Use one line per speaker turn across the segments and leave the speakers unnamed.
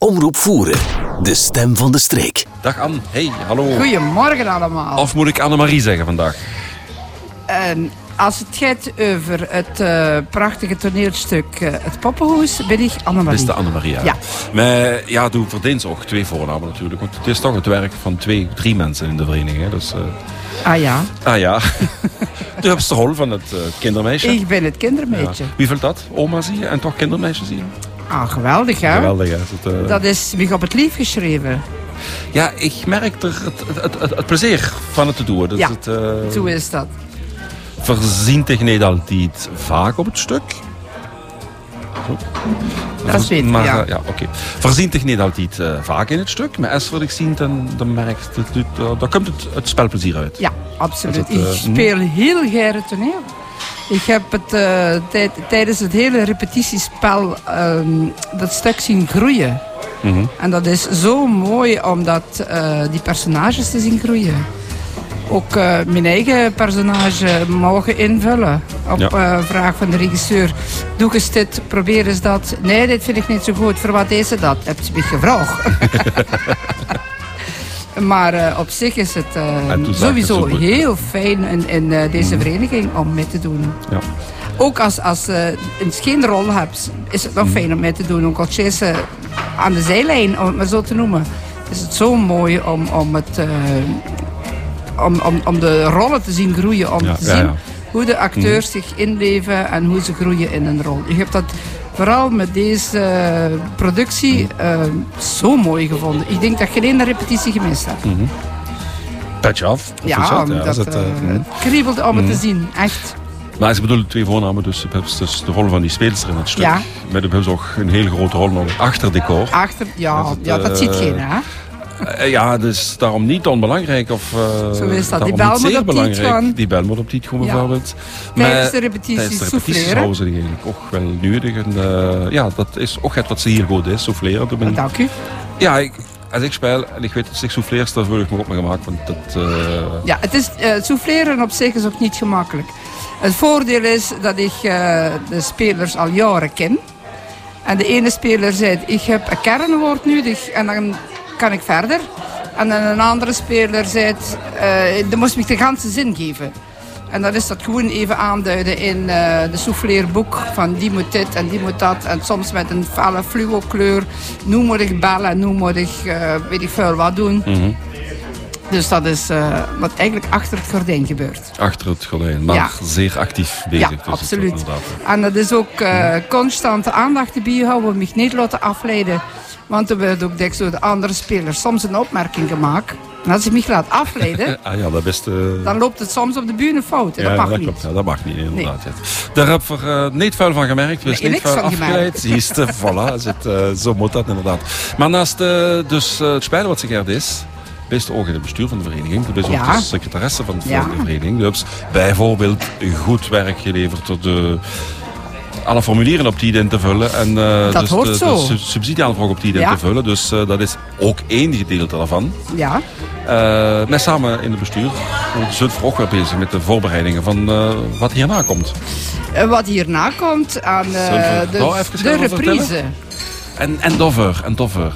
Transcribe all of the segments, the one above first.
Omroep Voeren, de stem van de streek.
Dag Anne, hey, hallo.
Goedemorgen allemaal.
Of moet ik Annemarie zeggen vandaag?
En als het gaat over het eh, prachtige toneelstuk eh, Het Poppenhoes, ben ik Annemarie.
Beste Annemarie. Ja.
Ja.
Maar ja, doe verdient ook twee voornamen natuurlijk. Want het is toch het werk van twee, drie mensen in de vereniging. Hè? Dus, eh,
Ah ja,
ah ja, de hupste rol van het eh, kindermeisje.
ik ben het
Ja.
kindermeisje.
Wie vult dat? Oma zie je en toch kindermeisje zie je?
Ah, geweldig hè?
Geweldig, hè? Dat, eh,
Dat is Mich op het Lief geschreven.
Ja, ik merk er het, het, het, het plezier van het te doen. Dus
Ja.
het, eh,
Zo is dat.
verzint tegen Nederland die het vaak op het stuk. Zo.
Dat is beter,
maar,
ja.
eh, ja oké. Verzint tegen Nederland die het eh, vaak in het stuk. Maar als wat ik zie, dan, dan merkt het, het, eh, daar komt het, het spelplezier uit.
Ja, absoluut.
Dat het, eh,
ik speel heel gaire toneel. Ik heb het eh, tij- tijdens het hele repetitiespel ehm, dat stuk zien groeien.
Mhm.
En dat is zo mooi om dat, eh, die personages te zien groeien. Ook eh, mijn eigen personage mogen invullen. Op
Ja.
eh, vraag van de regisseur. Doe eens dit, probeer eens dat. Nee, dit vind ik niet zo goed. Voor wat is het dat? Heb je me gevraagd? maar eh, op zich is het eh,
toen zag ik
sowieso
het zo goed. Mm.
heel fijn in, in eh, deze vereniging om mee te doen.
Ja.
Ook als, als eh, eens geen rol hebt, is het
Mm.
nog fijn om mee te doen. Ook al is ze aan de zijlijn, om het maar zo te noemen. Is het zo mooi om, om, het, eh, om, om, om de rollen te zien groeien. Om
Ja,
te
ja,
zien
ja. Mm.
hoe de acteurs zich inleven en hoe ze groeien in een rol. Ik heb dat vooral met deze eh, productie eh, zo mooi gevonden. Ik denk dat je geen ene repetitie gemist hebt.
Petje af. of hoe is
Ja,
Mm, dat?
omdat,
is het, eh,
eh,
mm.
het kriebelt om het te zien. Echt.
Maar ze bedoelen twee voornamen, dus, je hebt dus de rol van die speelster in het stuk.
Ja.
Met hem is ook een hele grote rol nog achter decor.
Achter, ja,
Is het,
ja, dat
eh,
ziet geen, hè?
Eh, Ja, dus daarom niet onbelangrijk. Of, eh,
Zo is dat. Die
daarom niet
bel moet
zeer
op tiet
belangrijk.
gaan.
Die bel moet op tiet gaan
Ja.
bijvoorbeeld.
Tijdens
Maar
de repetities
tijdens de repetities
souffleren.
houden ze die eigenlijk ook wel nodig. En, eh, ja, dat is ook het wat ze hier goed is, souffleren. Toen ben ik-
Dank u.
Ja, ik, als ik speel en ik weet dat ik souffleer, daar word ik me op me gemaakt. Want dat, eh,
Ja, het is, eh, souffleren op zich is ook niet gemakkelijk. Het voordeel is dat ik eh, de spelers al jaren ken. En de ene speler zei, ik heb een kernwoord nodig en dan kan ik verder. En dan een andere speler zei, eh dan moest ik de ganse zin geven. En dan is dat gewoon even aanduiden in eh, de souffleerboek. Van die moet dit en die moet dat. En soms met een felle fluo kleur. Nu moet ik bellen en nu moet ik eh, weet ik veel wat doen. Dus dat is eh, wat eigenlijk achter het gordijn gebeurt.
achter het gordijn. Maar
Ja.
zeer actief bezig.
ja,
dus het wordt
absoluut.
inderdaad-
En dat is ook eh constante aandacht te bijhouden, mij niet laten afleiden. Want er wordt ook dikwijls door de andere spelers soms een opmerking gemaakt. En als ik mij laat afleiden,
Ah ja, dat best... eh,
dan loopt het soms op de buren fout. En
ja,
dat mag
dat
niet.
klopt. Ja, dat mag niet, inderdaad. ja. Daar heb ik er eh, niet veel van gemerkt. We
Nee,
zijn niet
niks
veel
van gemerkt.
afgeleid. Siehst, eh, voilà, is het, eh, zo moet dat inderdaad. Maar naast eh, dus, eh, het spelen wat ze gerd is, best ook in het bestuur van de vereniging. Dus ook
Ja.
de secretaresse van de
Ja.
vereniging. Dus bijvoorbeeld goed werk geleverd door de... Alle formulieren op die in te vullen en eh,
Dat
dus
hoort
de, de
zo.
sub- subsidieaanvraag op die in
Ja.
te vullen. Dus eh, dat is ook één gedeelte daarvan.
Ja,
Eh, met samen in het bestuur zijn we ook weer bezig met de voorbereidingen van eh, wat hierna komt.
En Eh, wat hierna komt aan eh,
Zullen we nou
de,
even
de
over vertellen?
reprise.
En, en doffer, en doffer.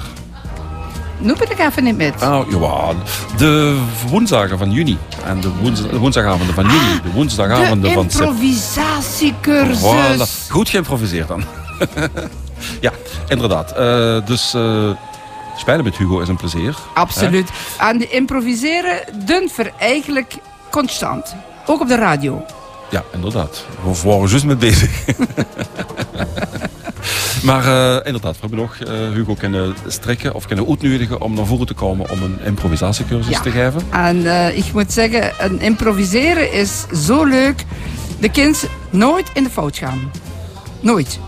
Noem het ik even niet met.
Ah, ja, de woensdagen van juni. En de, woens- de woensdagavonden van juni. De
De
woensdagavonden van september.
improvisatiecursus.
Voilà. Goed geïmproviseerd dan. ja, inderdaad. Eh, dus eh, spelen met Hugo is een plezier.
Absoluut. En de improviseren Dunver eigenlijk constant. Ook op de radio.
Ja, inderdaad. We waren juist mee bezig. maar eh, inderdaad, we hebben nog eh, Hugo kunnen strekken of kunnen uitnodigen om naar voren te komen om een improvisatiecursus
Ja.
te geven.
En eh, ik moet zeggen, een improviseren is zo leuk. De kind nooit in de fout gaan. Nooit.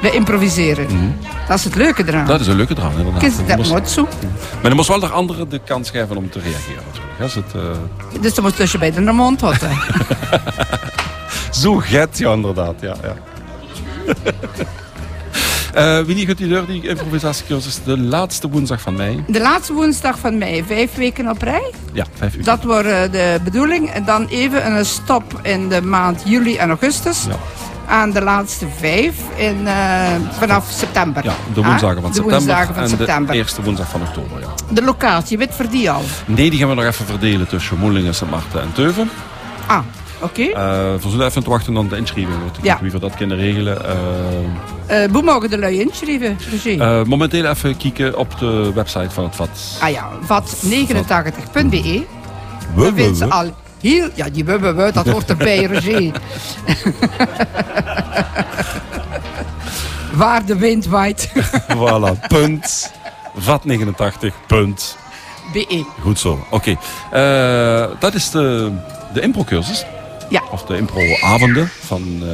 We improviseren. Dat is het leuke eraan.
Mhm. Dat is een leuke draad, inderdaad.
Kind,
Maar
dat
moest-
moet zo.
maar dan moest wel de anderen de kans geven om te reageren natuurlijk. hè. Is het, eh,
Dus dan moet tussen bij de mond houden.
Zo get ja, inderdaad. Ja, ja. Eh, wie niet goed die deur, die improvisatiecursus, de laatste woensdag van mei.
De laatste woensdag van mei, vijf weken op rij.
Ja, vijf uur.
Dat wordt eh, de bedoeling. En dan even een stop in de maand juli en augustus.
Ja.
aan de laatste vijf in, eh, vanaf september.
Ja, de
Ah,
woensdagen van
de
september.
woensdagen van
en
september.
de eerste woensdag van oktober, ja.
De locatie, weet voor die al?
Nee, die gaan we nog even verdelen tussen Moelingen, St. Maarten en Teuven.
Ah, oké.
Eh we zullen even te wachten op de inschrijving. want Ik
Ja.
weet Wie we dat kunnen regelen. Eh,
Eh, hoe mogen de lui inschrijven, Roger?
eh, momenteel even kijken op de website van het VAT.
ah ja, vat89.be.
We-
Dan
we-
vindt ze
we.
E. al heel... Ja, die we, we, we, dat hoort erbij, Roger. Waar de wind waait.
Voilà, punt. VAT 89, punt.
BE.
Goed zo, oké. Eh, dat is de, de impro-cursus.
Ja.
Of de impro-avonden van, eh,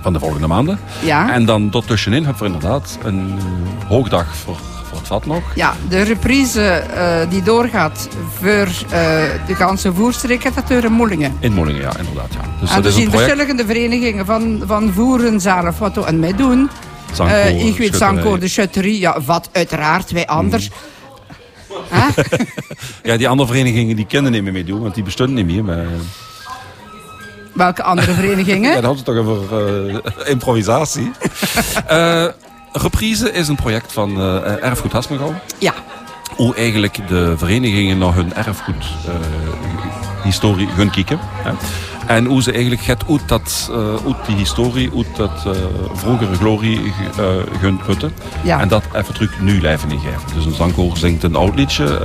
van de volgende maanden.
Ja.
En dan daartussenin hebben we inderdaad een eh, hoogdag voor, voor het VAT nog.
Ja, de reprise eh, die doorgaat voor eh, de ganse voerstreek, dat deur in Moelingen.
In Moelingen, ja, inderdaad. Ja. Dus
en
dat
er
is een
zijn
project.
verschillende verenigingen van, van voeren zelf wat ook en mij doen.
Zangkoor,
Eh, ik weet
schutterij. Mm.
zangkoor, de chutterie, ja, wat uiteraard, wij anders. Hè?
Ja, die andere verenigingen die kunnen niet meer meedoen, want die bestonden niet meer. Maar,
Welke andere
ja,
verenigingen?
dat had het toch over eh, improvisatie. Eh, Reprise is een project van eh, Erfgoed Hasmengouw.
Ja,
hoe eigenlijk de verenigingen naar hun erfgoed eh, historie hun kieken. Hè. En hoe ze eigenlijk het uit, dat, eh, uit die historie, uit dat eh, vroegere glorie eh hun putten.
Ja.
En dat even terug nu leven ingeven. Dus een zangkoor zingt een oud liedje, eh,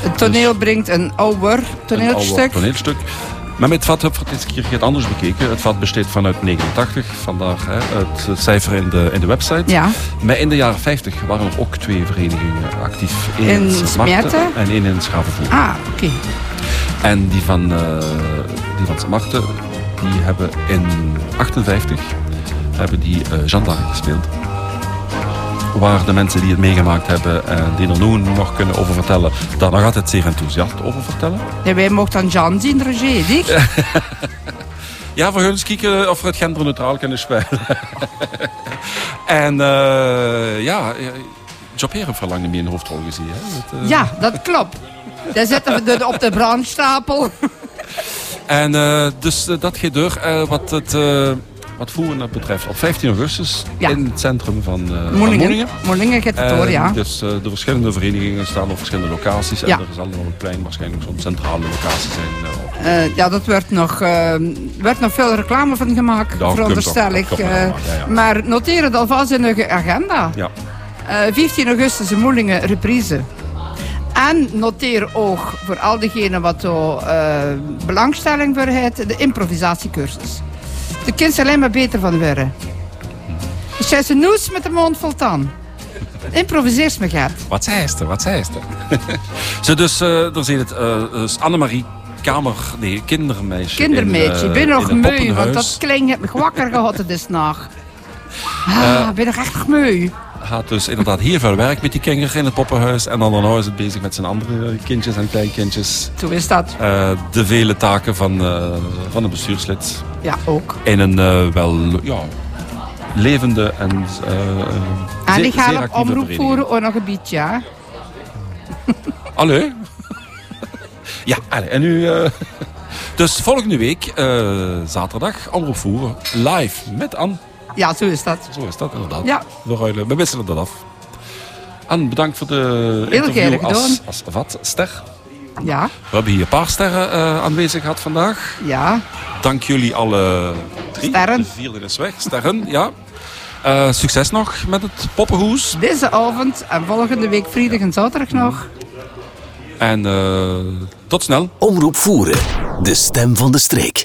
het toneel brengt een ouder
een oude
toneelstuk.
toneelstuk. Maar met het vat heb ik het dit keer het anders bekeken. Het vat besteedt vanuit 89, vandaar hè, het cijfer in de, in de website.
Ja,
Maar in de jaren 50 waren er ook twee verenigingen actief. één
In
Sint Maarten
Smerten?
En één in Schavenvoer.
ah, oké.
En die van, eh die van Sint Maarten, die hebben in 58 hebben die eh Gendarme gespeeld. Waar de mensen die het meegemaakt hebben en die er nu nog kunnen over vertellen, daar nog altijd zeer enthousiast over vertellen.
En wij mochten dan Jan zien, Roger, dik.
Ja, voor hun is kieken of we het genderneutraal kunnen spelen. en eh, ja, eh, Job Heren verlangde meer in de hoofdrol gezien. Hè? Dat, eh,
Ja, dat klopt. Daar zetten we de- op de brandstapel.
En eh, dus eh, dat gaat door. eh, wat het eh wat voeren dat betreft, op 15 augustus
Ja.
in het centrum van eh, van
Moelingen.
Moelingen.
Moelingen gaat het
En
door, ja.
Dus eh, de verschillende verenigingen staan op verschillende locaties. En
Ja.
er zal nog een plein waarschijnlijk zo'n centrale locatie zijn. eh,
Eh, ja, dat werd nog, eh, werd nog veel reclame van gemaakt,
komt
veronderstel
ook-
ik.
komt ook
eh.
nog, ja, ja.
Maar noteer het alvast in uw agenda.
ja.
Eh, 15 augustus in Moelingen, reprise. En noteer ook voor al diegenen wat zo, eh, belangstelling voor heeft, de improvisatiecursus. De kind is alleen maar beter van worden. Dus jij is een noes met de mond vol tanden. Improviseer me, Gert.
Wat zei ze? Wat zei ze? Zo, dus eh er zit het eh, dus Annemarie Kamer, nee, kindermeisje.
Kindermeisje,
in, eh,
ik ben nog
in een
moe, want
poppenhuis.
dat klinkt heb me wakker gehad het is nog. Ah,
Eh,
ben nog echt moe.
gaat dus inderdaad heel veel werk met die kinger in het poppenhuis. En dan nou is het bezig met zijn andere kindjes en kleinkindjes.
Toen is dat.
Eh, de vele taken van, eh, van een bestuurslid.
Ja, ook.
In een eh, wel ja, levende en, eh, eh,
En
zeer-
ik
zeer
ga op
actieve
omroep
vereniging.
voeren ook nog een beetje, ja.
Allee. ja, allee. En nu... eh, dus volgende week, eh, zaterdag, omroep voeren. Live met Anne.
Ja, zo is dat.
Zo is dat inderdaad.
Ja.
We, ruilen, we wisselen dat af. Anne, bedankt voor de
graag
interview
gedaan.
als, als wat ster.
Ja,
We hebben hier een paar sterren eh, aanwezig gehad vandaag.
ja.
Dank jullie alle drie.
Sterren.
De vierde is weg. Sterren, ja. Eh, succes nog met het poppenhoes.
Deze avond en volgende week vrijdag en zaterdag nog.
En eh, tot snel.
Omroep Voeren, de stem van de streek.